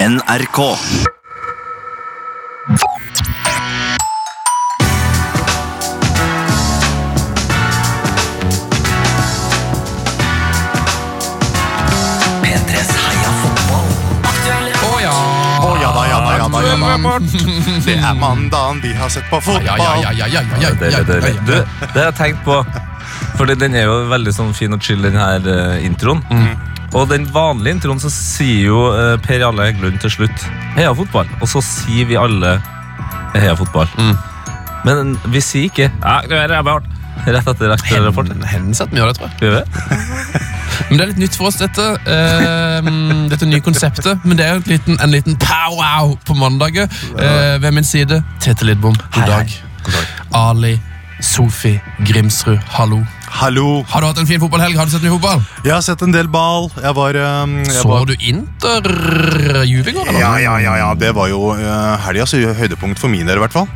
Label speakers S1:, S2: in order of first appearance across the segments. S1: NRK. P3s heia fotball.
S2: Å ja!
S3: Å ja da, ja da, ja da, ja da. Det er mandagen vi har sett på
S2: Ja, ja, ja,
S3: fotball.
S2: ja, ja, ja,
S4: Det,
S2: ja,
S4: det, det,
S2: ja,
S4: Du,
S2: ja.
S4: det har jeg tenkt på. Fordi den er jo veldig sånn fin og chill, den her eh, introen.
S2: Mm.
S4: Og den vanlige introen så sier jo eh, Per Jarle Heggelund til slutt Heia fotball. Og så sier vi alle heia fotball.
S2: Mm.
S4: Men vi sier ikke ja, det er ræva hardt», rett etter
S2: Hen-
S4: rapporten.
S2: Mm, Hensatt mye av det, tror jeg.
S4: Gjør vi?
S2: Men det er litt nytt for oss, dette. eh, dette nye konseptet. Men det er jo en liten, en liten pow-wow på mandaget. Eh, ved min side, Tete Lidbom. God dag. Ali. Sofie Grimsrud, hallo.
S3: Hallo.
S2: Har du hatt en fin fotballhelg? Har du sett mye fotball?
S3: Jeg har sett en del ball. Jeg var um, jeg
S2: Så
S3: var-
S2: du Inter-Juve i går, eller?
S3: Ja, ja, ja, ja. Det var jo uh, helgas høydepunkt for min del, i hvert fall.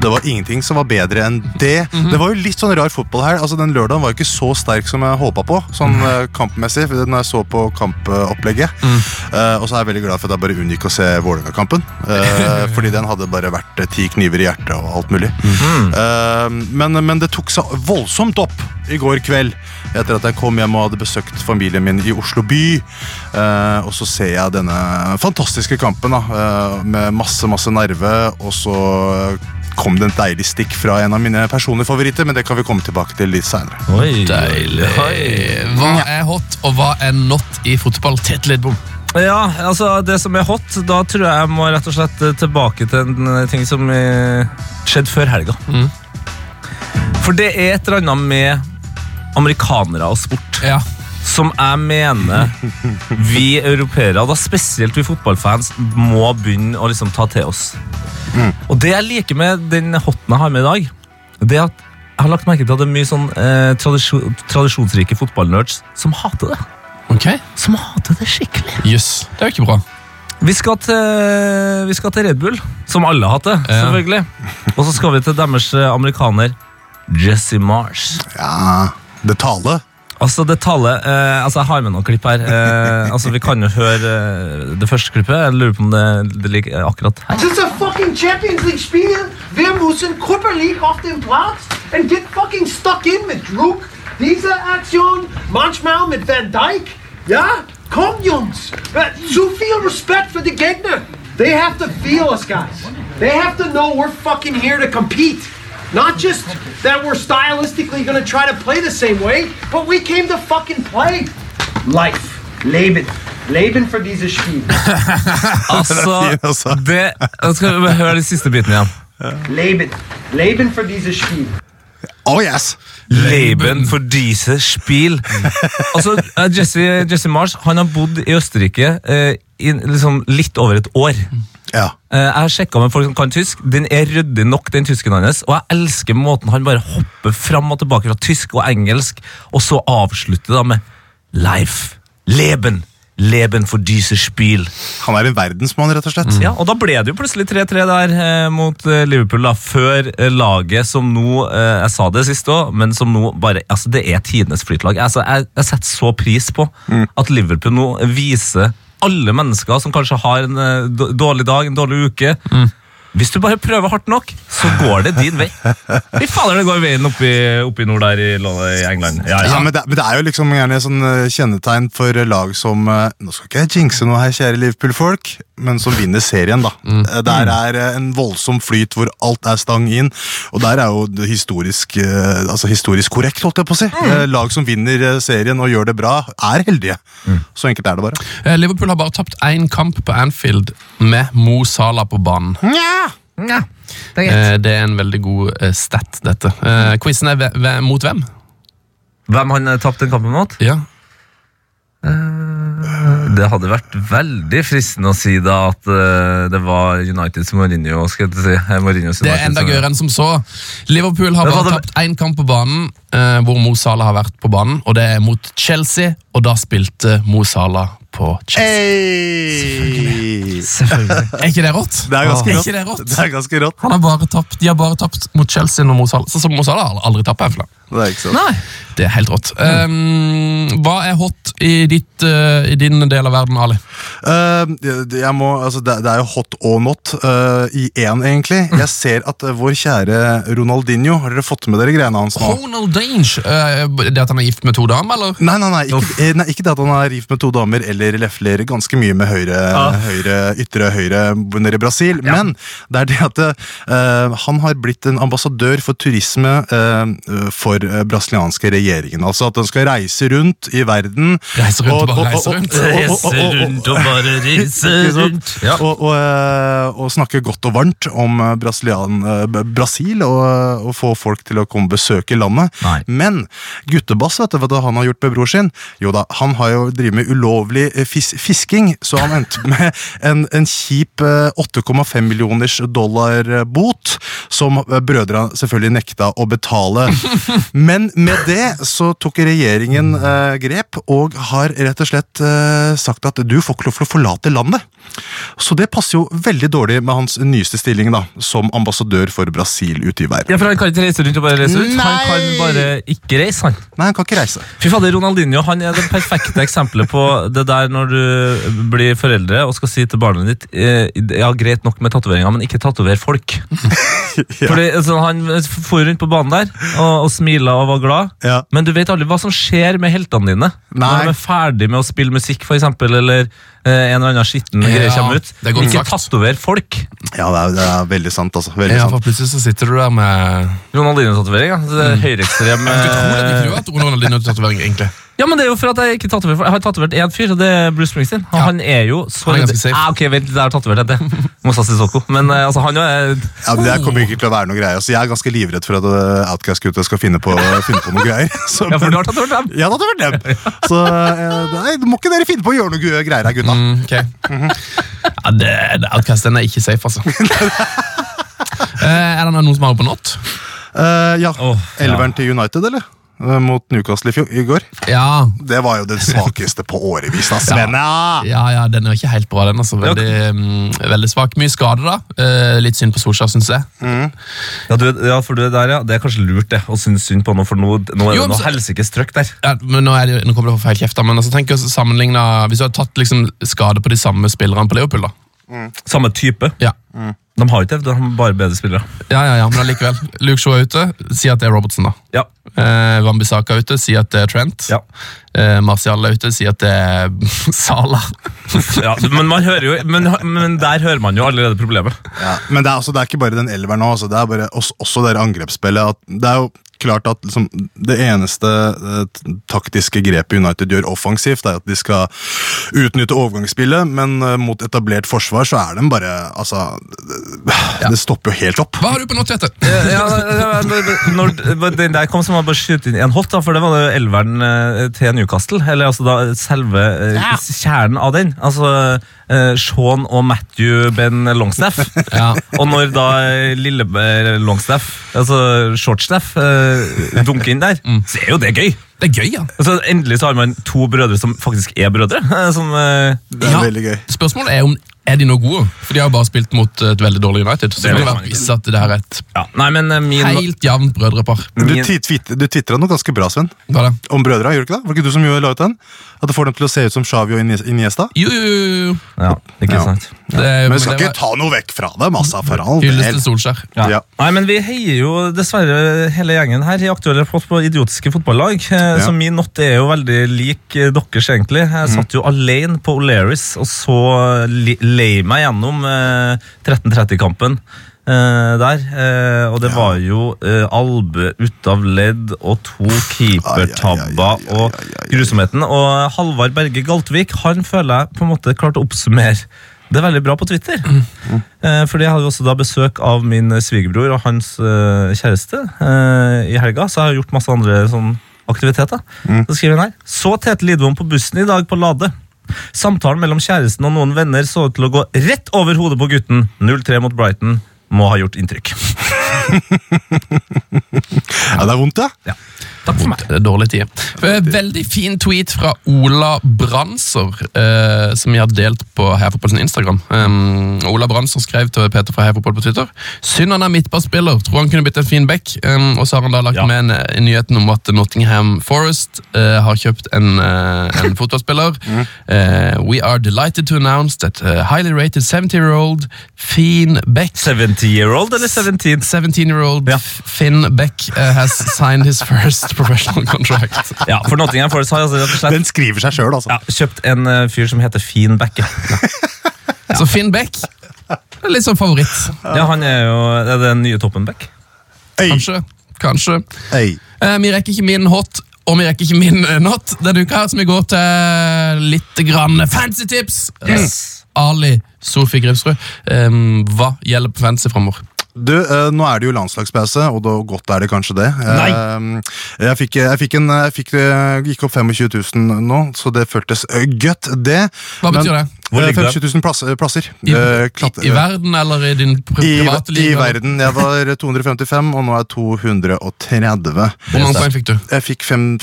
S3: Det var ingenting som var bedre enn det.
S2: Mhm.
S3: Det var jo litt sånn rar fotball her. Altså, Den lørdagen var jo ikke så sterk som jeg håpa på, sånn
S2: Mhm.
S3: eh, kampmessig. for Når jeg så på kampopplegget.
S2: Mhm.
S3: Eh, og så er jeg veldig glad for at jeg bare unngikk å se Vålerenga-kampen. eh, fordi den hadde bare vært eh, ti kniver i hjertet og alt mulig.
S2: Mhm.
S3: Eh, men, men det tok seg voldsomt opp i går kveld etter at jeg kom hjem og hadde besøkt familien min i Oslo by. Eh, og så ser jeg denne fantastiske kampen da, eh, med masse, masse nerve, og så kom det en deilig stikk fra en av mine personlige favoritter, men det kan vi komme tilbake til litt seinere.
S4: Oi,
S2: Deilig. Hva er hot, og hva er not i fotball? Tete Lidbom.
S4: Ja, altså det som er hot, da tror jeg jeg må rett og slett eh, tilbake til en eh, ting som eh, skjedde før helga.
S2: Mhm.
S4: For det er et eller annet med amerikanere og sport
S2: Ja.
S4: som jeg mener vi europeere, og da spesielt vi fotballfans, må begynne å liksom ta til oss. Og det jeg liker med den hotten jeg har med i dag, det er at jeg har lagt merke til at det er mye sånn eh, tradisjon, tradisjonsrike fotballnerds som hater det.
S2: Ok.
S4: Som hater det skikkelig.
S2: Jøss, det er jo ikke bra.
S4: Vi skal, til, vi skal til Red Bull, som alle har hatt det,
S2: Ja.
S4: selvfølgelig. Og så skal vi til deres eh, amerikaner Jesse Mars.
S3: Ja, det tale.
S4: Altså, det tallet eh, Altså, jeg har med noen klipp her. Eh, altså, Vi kan jo høre eh, det første klippet. Jeg lurer på om det, det ligger akkurat her.
S5: Since the fucking Champions League spiel, wir müssen Cooper League auf den Platz and get fucking stuck in mit Druck. Diese Aktion, manchmal mit Van Dijk. Ja? Komm, Jungs. Äh, Zu viel Respekt für die Gegner. They have to feel us, guys. They have to know we're fucking here to compete. Not just that we're stylistically gonna try to play the same way, but we came to fucking play. Life. Leben. Leben for dieses Spiel.
S3: fin, altså.
S4: Altså, det Nå Skal vi bare høre den siste biten igjen?
S5: Leben. Leben for dieses Spiel.
S3: Oh yes!
S4: Leben for diese Spiel. Altså, eh, Jesse, Jesse Mars han har bodd i Østerrike eh, i liksom litt over et år.
S3: Ja.
S4: Eh, Jeg har sjekka med folk som kan tysk. Den er ryddig nok, den tysken hans. Og jeg elsker måten han bare hopper fram og tilbake fra tysk og engelsk, og så avslutter da med Life. Leben. Leben for diese Spiel.
S3: Han er en verdensmann, rett og slett.
S4: Ja, og da ble det jo plutselig 3-3 der eh, mot eh, Liverpool, da, før eh, laget som nå eh, Jeg sa det sist òg, men som nå bare Altså, det er tidenes flytlag. Altså, jeg, jeg setter så pris på at Liverpool nå viser alle mennesker som kanskje har en eh, d- dårlig dag, en dårlig uke Hvis du bare prøver hardt nok, så går det din vei. Fy fader, det går veien oppi, oppi nord der i, Lo- i England. Ja,
S3: Ja,
S4: ja.
S3: men det, men det er jo liksom gjerne sånn eh, kjennetegn for lag som eh, Nå skal ikke jeg jinxe noe her, kjære Liverpool-folk, men som vinner serien, da.
S2: Mm.
S3: Eh, Der er eh, en voldsom flyt hvor alt er stang inn, og der er jo det historisk eh, Altså historisk korrekt, holdt jeg på å si.
S2: Mm.
S3: Eh, Lag som vinner eh, serien og gjør det bra, er heldige.
S2: Mm.
S3: Så enkelt er det bare.
S2: Eh, Liverpool har bare tapt én kamp på Anfield med Mo Salah på banen.
S4: Ja, det er greit.
S2: Eh, Det er en veldig god eh, stat, dette. Eh, Quizen er ve- ve- mot hvem?
S4: Hvem han eh, tapte den kampen mot?
S2: Ja.
S4: Det hadde vært veldig fristende å si da at eh, det var Uniteds Mourinho. skal jeg si. Eh, Mourinhos
S2: Det er
S4: United
S2: enda
S4: som-
S2: gøyere enn som så. Liverpool har
S4: Men hva
S2: bare
S4: hadde-
S2: tapt én kamp på banen, eh, hvor Mo Salah har vært på banen, og det er mot Chelsea, og da spilte Mo Salah på Chelsea.
S3: Hey!
S4: Selvfølgelig.
S2: Er ikke det rått? Ah.
S3: Det er ganske
S2: Er
S3: rått.
S2: ikke det rått?
S3: Det er ganske rått.
S2: Han har bare tapt, de har bare tapt mot Chelsea og Mo Salah. Så, så Mo Salah har aldri tapt. her, for da.
S3: Det er ikke sant.
S4: Nei,
S2: Det er helt rått. Ehm, hva er hot i, ditt, eh, i din del av verden, Ali?
S3: Eh, det- jeg må, altså, det, det er jo hot og not eh, i én, egentlig. Jeg ser at eh, vår kjære Ronaldinho Har dere fått med dere greiene hans nå?
S2: Ronald Dange. eh, det at han er gift med to damer, eller?
S3: Nei, nei, nei, ikke, eh, nei, ikke det at han er gift med to damer eller lefler ganske mye med høyre, høyre ytre høyre nede i Brasil, men det er det at eh, han har blitt en ambassadør for turisme eh, for eh, brasilianske regjeringen. Altså at den skal reise rundt i verden.
S2: Reiser rundt og
S3: og-
S2: bare
S3: og-
S2: reiser
S3: og-
S2: rundt.
S3: og- og- og- og-
S4: Reise
S3: og-
S4: rundt og bare reise
S3: Ikke sant?
S4: rundt. Ja.
S3: Og, og, eh, og snakke godt og varmt om eh, brasilian, eh, b- Brasil og, eh, og få folk til å komme og besøke landet.
S4: Nei.
S3: Men guttebass, vet du hva han har gjort med bror sin? Jo da, han har jo drevet med ulovlig eh, fis fisking, så han endte med en, en kjip eh, 8,5 millioners dollar eh, bot, som eh, brødrene selvfølgelig nekta å betale. Men med det så tok regjeringen eh, grep, og har rett og slett eh, sagt at du får ikke lov til å forlate landet. Så det passer jo veldig dårlig med hans nyeste stilling da, som ambassadør for Brasil ute i verden.
S4: Ja, for Han kan ikke reise rundt og bare reise ut. Han
S3: Nei!
S4: kan bare ikke reise, han.
S3: Nei, han kan ikke reise.
S4: Fy fader, Ronaldinho han er det perfekte eksempelet på det der når du blir foreldre og skal si til barnet ditt eh, Ja, greit nok med tatoveringer, men ikke tatover folk. Fordi altså, Han for rundt på banen der og, og smila og var glad,
S3: Ja.
S4: men du vet aldri hva som skjer med heltene dine.
S3: Nei.
S4: Når de er ferdig med å spille musikk, for eksempel, eller eh, en eller annen skitten greie
S2: Ja,
S4: kommer ut.
S2: det er godt
S4: Ikke
S2: sagt.
S4: tatover folk.
S3: Ja, det er, det er veldig sant, altså. Veldig
S2: Ja,
S3: sant.
S2: for plutselig så sitter du der med
S4: Ronaldinho-tatovering, ja. Det er Høyreekstrem
S2: Jeg tror det
S4: eh,
S2: ikke Mm. du har hatt Ronaldinho-tatovering, egentlig.
S4: Ja, men det er jo for at jeg ikke tatoverer folk. Jeg har tatovert én fyr, og det er Bruce Springsteen. Og
S2: Ja.
S4: han er jo
S2: Han
S4: så
S2: er ganske safe.
S4: ah, Ok, vent, der tatoverte jeg det. Mossa Sissoko. Men eh, altså, han jo er
S3: Ja, men Det kommer ikke til å være noe greier. Altså, jeg er ganske livredd for at eh, Outcast-gutta skal finne på, finne på noe greier. Så,
S4: Ja, for du har tatovert dem.
S3: Ja, det hadde vært dem. Så eh, nei, må ikke dere finne på å gjøre noe gøy- greier her, gutta.
S2: Mm, ok. ja, det, det Outcast den er ikke safe, altså. Eh, er det noen som har på not?
S3: Eh, ja,
S4: Åh, ja.
S3: Elveren til United, eller? Eh, Mot Newcastle i, fjor, i går.
S2: Ja.
S3: Det var jo den svakeste på årevis, da, Sven. Ja.
S2: ja, ja, den er ikke helt bra, den. altså Veldig, mm, veldig svak. Mye skade, da. Eh, litt synd på Solskjær, syns jeg.
S4: Ja, for du er der, ja. Det er kanskje lurt, det. Å synes synd på noe, for nå, nå
S2: Jo, men så-
S4: helsikes trøkk der.
S2: Ja, men nå, er det, jo- nå kommer det for feil kjeft, da, men altså, tenk å sammenligne Hvis du hadde tatt liksom, skade på de samme spillerne på Leopold, da.
S4: Samme type.
S2: Ja.
S4: De har ikke det, de har bare bedre spillere.
S2: ja, ja, ja, men allikevel. Luke Shaw er ute, si at det er Robertson, da.
S4: Ja.
S2: Eh, Wambisaka er ute, si at det er Trent.
S4: Ja.
S2: Eh, Martial er ute, si at det er Salah.
S4: ja men, man hører jo, men, men der hører man jo allerede problemet.
S3: Men det er, altså, det er ikke bare den elveren nå, altså, det er bare også, også det der angrepsspillet. At, det er jo klart at liksom, det eneste eh, t- taktiske grepet United gjør offensivt, er at de skal utnytte overgangsspillet, men eh, mot etablert forsvar så er de bare Altså, det, det stopper jo helt opp.
S2: Hva har du på nå, Tvete?
S4: Eh, ja, ja, når- når når den der kom, så må jeg bare skyte inn en hot, da, for det var det elveren eh, til Newcastle. Eller altså da selve eh, kjernen av den. Altså eh, Sean og Matthew Ben Longstaff.
S2: Ja.
S4: Og når da eh, lille eh, Longstaff, altså Shortstaff, eh, dunker inn der, så er jo det gøy.
S2: Det er gøy, ja.
S4: Altså, endelig så har man to brødre som faktisk er brødre. eh, Som, eh,
S3: Det er
S2: Ja.
S3: veldig gøy.
S2: Spørsmålet er om er de nå gode? For de har jo bare spilt mot et veldig dårlig United. Så det
S4: Det er
S2: ville vært
S4: veldig
S2: visst at det her er et
S4: ja. Nei, men eh, min
S2: helt jevnt brødrepar.
S3: Du,
S4: Min-
S3: tweet- tweet- du tvitra noe ganske bra, Sven.
S2: Hva da?
S3: Om brødre, gjorde du ikke det? Var det ikke du som gjorde- la ut den? At det får dem til å se ut som Xavi og Inies- Iniesta?
S2: Jo, jo, jo, jo.
S4: Ja, ikke
S3: Ja.
S4: sant.
S2: Det,
S3: Men vi skal
S2: det
S3: ikke ta noe vekk fra dem, altså, for all
S2: var Hylles til
S3: del.
S2: Solskjær.
S4: Ja.
S3: Ja.
S4: Nei, men vi heier jo dessverre hele gjengen her i aktuelle rapport på idiotiske fotballag. eh, Så min not er jo veldig lik eh, deres, egentlig. Jeg satt jo alene på O'Learys og så li- lei meg gjennom eh, 1330-kampen. eh, der, eh, og det var jo eh, albue ut av ledd og to keepertabber
S3: Ai, ai, ai, ai, ai,
S4: og
S3: ai, ai, ai.
S4: grusomheten. Og Halvard Berge Galtvik han føler jeg på en måte klarte å oppsummere det veldig bra på Twitter. Eh, Fordi jeg hadde jo også da besøk av min svigerbror og hans eh, kjæreste eh, i helga, så jeg har gjort masse andre sånn aktiviteter. Så skriver hun her Så Tete Lidvom på bussen i dag på Lade. Samtalen mellom kjæresten og noen venner så ut til å gå rett over hodet på gutten. 0-3 mot Brighton. Må ha gjort inntrykk.
S3: Ja, det er vondt, ja.
S4: Ja. Takk for meg.
S2: Det er dårlig tid. Eh, Veldig fin tweet fra Ola Branser, eh, som jeg har delt på Heiapopol sin Instagram. Um, Ola Branser skrev til Peter fra Heiapopol på Twitter. Synd han er midtbanespiller, tror han kunne blitt en fin back. Um, og så har han da lagt
S4: Ja.
S2: med en, eh, en nyheten om at Nottingham Forest eh, har kjøpt en, eh, en fotballspiller. Eh, we are delighted to announce that a highly rated 70-year-old Finn Beck
S4: 70-year-old eller 17?
S2: 17-year-old
S4: Ja.
S2: Finn Beck eh, has signed his first professional contract.
S4: Ja, for Nottingham Forest har altså rett og slett
S3: Den skriver seg sjøl, altså.
S4: ja, kjøpt en eh, fyr som heter Fin Bekke.
S2: Så Altså, Finn Beck er litt sånn favoritt.
S4: Ja, han er jo er det den nye Toppen Beck.
S3: Ei,
S2: Kanskje. Kanskje.
S3: ei.
S2: Eh, vi rekker ikke min hot, og vi rekker ikke min eh, not denne uka, så vi går til litt grann fancy tips.
S4: Yes.
S2: Eh, Ali Sofie Gripsrud, eh, hva gjelder på fancy framover?
S3: Du, eh, nå er det jo landslagspause, og da godt er det kanskje det. Eh, Jeg fikk, eh, jeg fikk en jeg fikk, jeg gikk opp 25 000 nå, så det føltes eh, godt, det.
S2: Hva betyr det?
S4: Hvor ligger det?
S3: 25 000 plass, plasser.
S2: I,
S3: Eh,
S2: i,
S3: klatt-
S2: I verden eller i din pri
S3: I, I
S2: private liv? eller?
S3: verden. Jeg var 255, og nå er jeg 230.
S2: Hvor mange poeng fikk du?
S3: Jeg fikk 540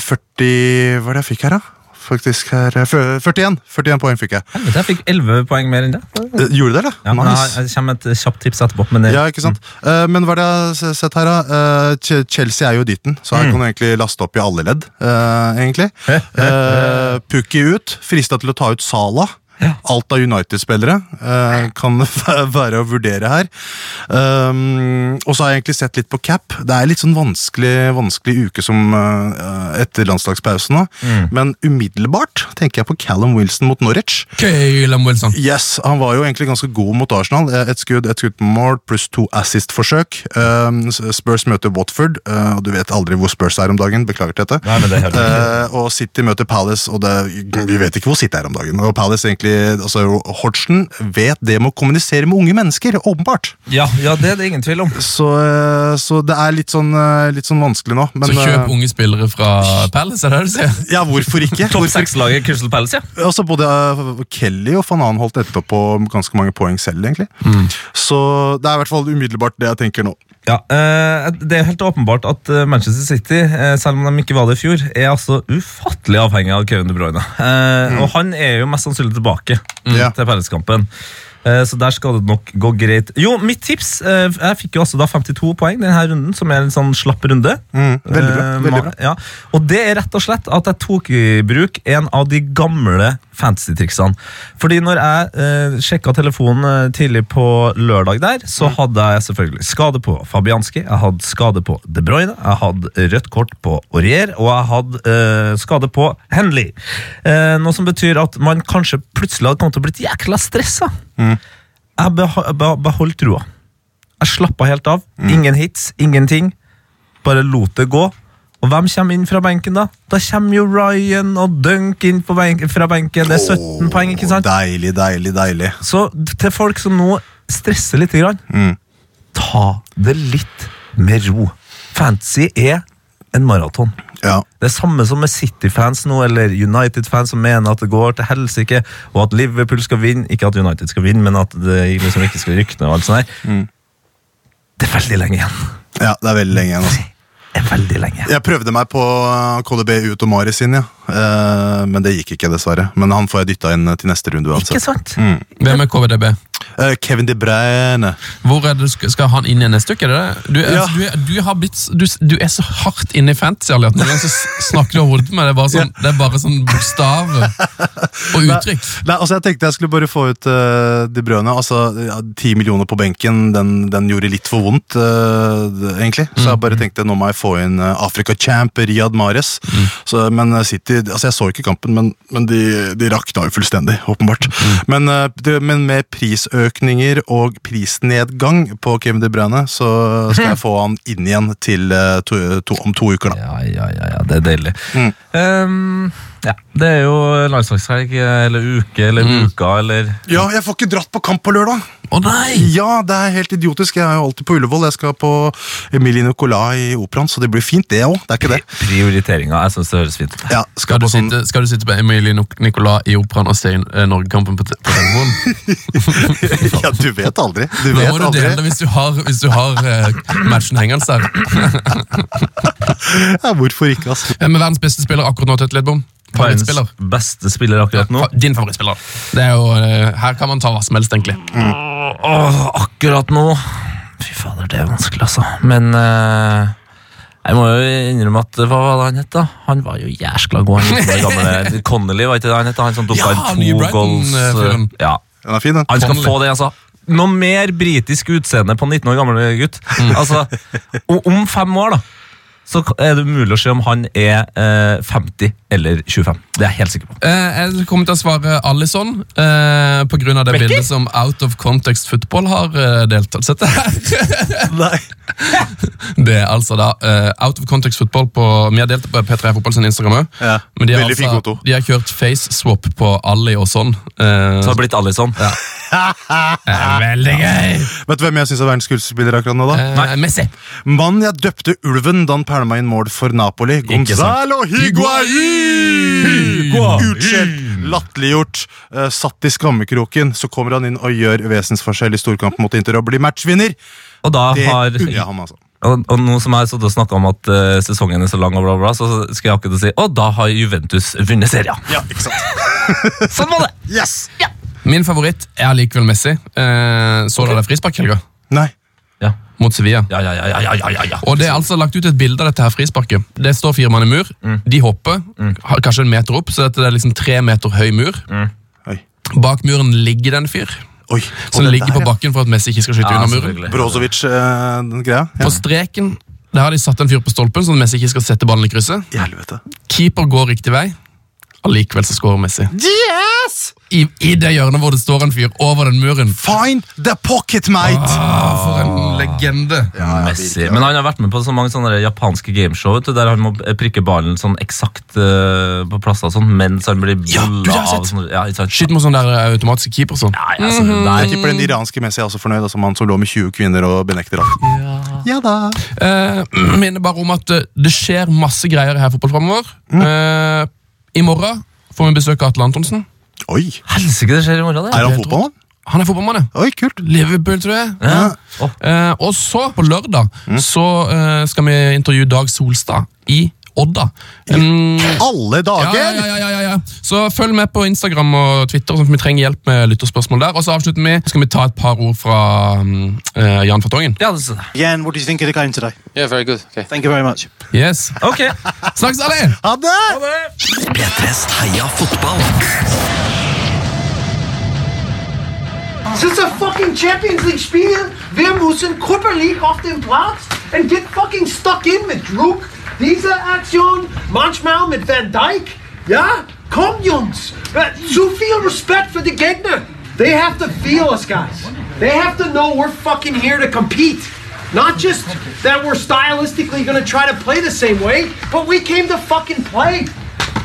S3: Hva er det jeg fikk her, da? Faktisk her eh, fyr- 41 41 poeng fikk jeg.
S4: Helvete, jeg fikk 11 poeng mer enn det.
S3: Eh, Gjorde dere det?
S4: Ja, men
S3: nice.
S4: jeg, jeg kommer med et kjapt tips etterpå. Men det, Mm.
S3: Ja, ikke sant? Eh, men hva er det jeg har s- sett her, da? Eh, Ch- Chelsea er jo i dytten, så
S4: Mm.
S3: her kan du egentlig laste opp i alle ledd, eh, egentlig. Eh, Pukki ut, frista til å ta ut Sala. Alt av United-spillere eh, kan være å vurdere her. Um, og så har jeg egentlig sett litt på cap. Det er litt sånn vanskelig, vanskelig uke som eh, etter landslagspausen nå.
S4: Mm.
S3: Men umiddelbart tenker jeg på Callum Wilson mot Norwich.
S2: Køylam Wilson.
S3: Yes, Han var jo egentlig ganske god mot Arsenal. Eh, Et skudd, et skudd på mål, pluss to assist-forsøk. Um, Spurs møter Watford, eh, og du vet aldri hvor Spurs er om dagen. Beklager til dette.
S4: Nei, men det hører vi
S3: Eh, og City møter Palace, og det, vi vet ikke hvor City er om dagen. Og Palace egentlig, altså Hodgson vet det med å kommunisere med unge mennesker, åpenbart.
S4: ja, ja, det er det ingen tvil om.
S3: Så, eh, så det er litt sånn, eh, litt sånn vanskelig nå. Men,
S2: Så
S3: eh,
S2: kjøp unge spillere fra Palace, er det det du sier?
S3: Ja, hvorfor ikke?
S4: Topp
S3: Hvorfor-
S4: seks-laget Crystal Palace, ja.
S3: Altså Både eh, Kelly og van Anen holdt etterpå på ganske mange poeng selv, egentlig.
S4: Mm.
S3: Så det er i hvert fall umiddelbart det jeg tenker nå.
S4: ja eh, det er jo helt åpenbart at eh, Manchester City, eh, selv om de ikke var det i fjor, er altså ufattelig avhengig av Kevin De Bruyne. Eh, Og han er jo mest sannsynlig tilbake
S3: Ja.
S4: til Palace-kampen. Eh, Så der skal det nok gå greit. Jo, mitt tips eh, Jeg fikk jo altså da 52 poeng denne runden, som er en sånn slapp runde.
S3: Mm, veldig bra.
S4: Eh,
S3: veldig
S4: ma-
S3: bra.
S4: Ja. Og det er rett og slett at jeg tok i bruk en av de gamle fantasy-triksene. Fordi når jeg eh, sjekka telefonen eh, tidlig på lørdag der,
S3: Mm.
S4: så hadde jeg selvfølgelig skade på Fabianski, jeg hadde skade på De Bruyne, jeg hadde rødt kort på Aurier, og jeg hadde eh, skade på Henley. Eh, noe som betyr at man kanskje plutselig hadde kommet til å blitt jækla stressa. Jeg beho- beh- beholdt troa. Jeg slappa helt av.
S3: Mm.
S4: Ingen hits, ingenting. Bare lot det gå. Og hvem kommer inn fra benken, da? Da kommer jo Ryan og Dunk inn på benk fra benken. Det er 17
S3: Åh,
S4: poeng, ikke sant?
S3: Deilig, deilig, deilig.
S4: Så d- til folk som nå stresser litt, grann,
S3: Mm.
S4: ta det litt med ro. Fantasy er en maraton.
S3: Ja.
S4: Det er samme som med City-fans nå, eller United-fans som mener at det går til helsike, og at Liverpool skal vinne. Ikke at United skal vinne, men at det liksom ikke skal rykne. og alt sånt der. Det er veldig lenge igjen.
S3: ja, det er veldig lenge igjen. Altså.
S4: Det er veldig lenge igjen.
S3: Jeg prøvde meg på eh, KDB ut og Mari sin, ja. Eh, men det gikk ikke, dessverre. Men han får jeg dytta inn eh, til neste runde
S4: Ikke
S3: uansett.
S4: sant?
S2: Hvem er KVDB?
S3: Eh, Kevin De Bruyne.
S2: Hvor er det, du skal, skal han inn igjen neste uke? Er det det? Du, er,
S3: Ja.
S2: du, er- du, har blitt, s- du, s- du er så hardt inne i fantasy, Ali, at noen ganger så s- snakker du over hodet med meg. Det er bare sånn, det er bare sånn bokstav og uttrykk.
S3: Nei, altså jeg tenkte jeg skulle bare få ut eh, De Brøne. Altså, ja, Ti millioner på benken, den, den gjorde litt for vondt, eh, egentlig. Så jeg bare tenkte nå må jeg få inn eh, Afrika Champ, Riyad Mares. Så, men eh, City altså Jeg så ikke kampen, men, men de, de rakna jo fullstendig, åpenbart. Men, eh, det, men med prisøkninger og prisnedgang på Kevin De Brøne, så skal jeg få han inn igjen til eh, to, to, om to uker, da.
S4: Ja, ja, ja, ja, det er deilig.
S3: Mm.
S4: Ehm, Ja, det er jo landslagshelg, eller uke, eller uka, eller
S3: Ja, jeg får ikke dratt på kamp på lørdag!
S2: Å nei!
S3: Ja, det er helt idiotisk. Jeg er jo alltid på Ullevål. Jeg skal på Emilie Nicolas i Operaen, så det blir fint, det òg. Det er ikke det.
S4: Prioriteringa. Jeg syns det høres fint ut.
S3: Ja,
S2: Skal
S3: skal
S2: du,
S3: på sånn
S2: sitte, skal du sitte på Emilie Nic- Nicolas i operaen og se eh, Norgekampen på, te- på telefonen?
S3: Ja, du vet aldri. Du
S2: Da
S3: vet
S2: må du dele det
S3: aldri.
S2: hvis du har, hvis du har eh, matchen hengende der.
S3: Ja, hvorfor ikke, altså.
S2: Hvem er verdens beste spiller akkurat nå, Tøtt Lidbom? Favorittspiller?
S4: Verdens beste spiller akkurat nå.
S2: Fa- Din favorittspiller. Det er jo, eh, her kan man ta hva som helst, egentlig.
S4: Åh, akkurat nå Fy fader, det er vanskelig, altså. Men eh, jeg må jo innrømme at Hva var det han het, da? Han var jo jæskla god. Han gikk på det gamle Connolly, var ikke det han het? Han som dukka
S2: Ja,
S4: inn
S2: nye
S4: to
S2: Brighton,
S4: goals.
S2: eh, fyren.
S4: ja.
S3: Den er fin, den.
S4: Han skal
S2: Connolly.
S4: få det, altså. Noe mer britisk utseende på en 19 år gammel gutt.
S2: Mm.
S4: Altså, o- om fem år, da, så er det mulig å se om han er eh, 50 eller 25. Det er jeg helt sikker på.
S2: Eh, jeg kommer til å svare Alison eh, på grunn av det bildet som Out of Context Football har eh, deltatt. Sett det her.
S3: Nei.
S2: Det er altså da eh, Out of Context Football på Vi har delt på P3 Fotball sin Instagram òg.
S3: Ja,
S2: Men de har,
S3: veldig fin
S2: altså,
S3: konto.
S2: de har kjørt face swap på Ali og sånn.
S4: Så
S2: Eh,
S4: har det blitt Alison.
S2: eh, veldig gøy!
S3: Vet du hvem jeg syns er verdens skuespiller akkurat nå, da?
S2: Eh, Messi.
S3: Mannen jeg døpte ulven da han pælma inn mål for Napoli.
S4: Ikke sant.
S3: Gonzalo Higuain!
S4: Higuain!
S3: Utskjelt, latterliggjort, eh, satt i skammekroken. Så kommer han inn og gjør vesensforskjell i storkampen mot Inter og blir matchvinner.
S4: Og da
S3: Det
S4: har
S3: unner jeg ham, altså.
S4: Og, og nå som jeg har sittet og snakka om at eh, sesongen er så lang, og bla bla, så skal jeg akkurat si Og da har Juventus vunnet serien!
S3: Ja, ikke sant?
S4: Sånn var det!
S3: Yes!
S2: Min favoritt er allikevel Messi. Eh, så dere frisparkhelga
S3: Nei.
S4: Ja,
S2: mot Sevilla?
S4: ja, ja, ja, ja, ja, ja, ja.
S2: Og Det er altså lagt ut et bilde av dette her frisparket. Det står fire mann i mur.
S3: Mm.
S2: De hopper, har kanskje en meter opp, så dette er liksom tre meter høy mur.
S3: Oi.
S2: Bak muren ligger det en fyr
S3: Oi.
S2: som
S3: Og det
S2: ligger
S3: der,
S2: på bakken for at Messi ikke skal skyte
S4: Ja,
S2: under muren.
S4: selvfølgelig.
S3: Brozovic, eh, den greia. Ja.
S2: På streken der har de satt en fyr på stolpen, sånn at Messi ikke skal sette ballen i krysset.
S3: I helvete.
S2: Keeper går riktig vei. Allikevel så skårer Messi.
S3: Yes!
S2: I, I det hjørnet hvor det står en fyr over den muren.
S3: Find the pocket, mate!
S2: Ah, for en legende.
S4: Messi. Men han har vært med på så mange sånne japanske gameshow vet du, der han må eh, prikke ballen sånn eksakt eh, på plasser og sånn, mens han blir
S2: Ja, du,
S4: bulla
S2: det har jeg
S4: av
S2: sett.
S4: sånn ja, ikke sant?
S2: Skyt mot sånn der eh, automatisk keeper sånn.
S4: Nei, altså, nei.
S3: Jeg tipper den iranske Messi er også fornøyd, som han som lå med 20 kvinner og benekter alt. Ja da.
S2: Eh, minner bare om at eh, det skjer masse greier her i fotball fremover.
S3: Mm.
S2: Eh, I morgen får vi besøk av Atle Antonsen.
S3: Oi.
S4: Helsike, det skjer i morgen, det.
S3: Er han
S2: helt
S3: fotballmann?
S2: Han er fotballmann, ja.
S3: Oi, kult.
S2: Liverpool, tror jeg.
S4: Ja. Åh,
S2: Eh, og så, på lørdag, så eh, skal vi intervjue Dag Solstad i Odda. Mm,
S3: Alle
S2: ja,
S3: dager!
S2: ja, ja, ja, ja, ja. Så følg med på Instagram og Twitter, sånn at vi trenger hjelp med lytterspørsmål der. Og så avslutter vi. Skal vi ta et par ord fra mm, eh, Jan Fartongen?
S4: ja, det,
S1: Jan, what do you think of the game today?
S6: Yeah, very good. Okay.
S1: Thank you very much.
S2: Yes.
S4: ok.
S2: Snakkes, alle!
S3: Ha det!
S5: Since a fucking Champions League spielen, wir müssen körperlich auf den Platz and get fucking stuck in mit Druck. Diese Aktion manchmal mit Van Dijk. Ja, komm Jungs. But zu viel Respekt für die Gegner. They have to feel us guys. They have to know we're fucking here to compete. Not just that we're stylistically gonna try to play the same way, but we came to fucking play.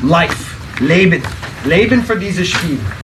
S5: Life. Leben. Leben für dieses Spiel.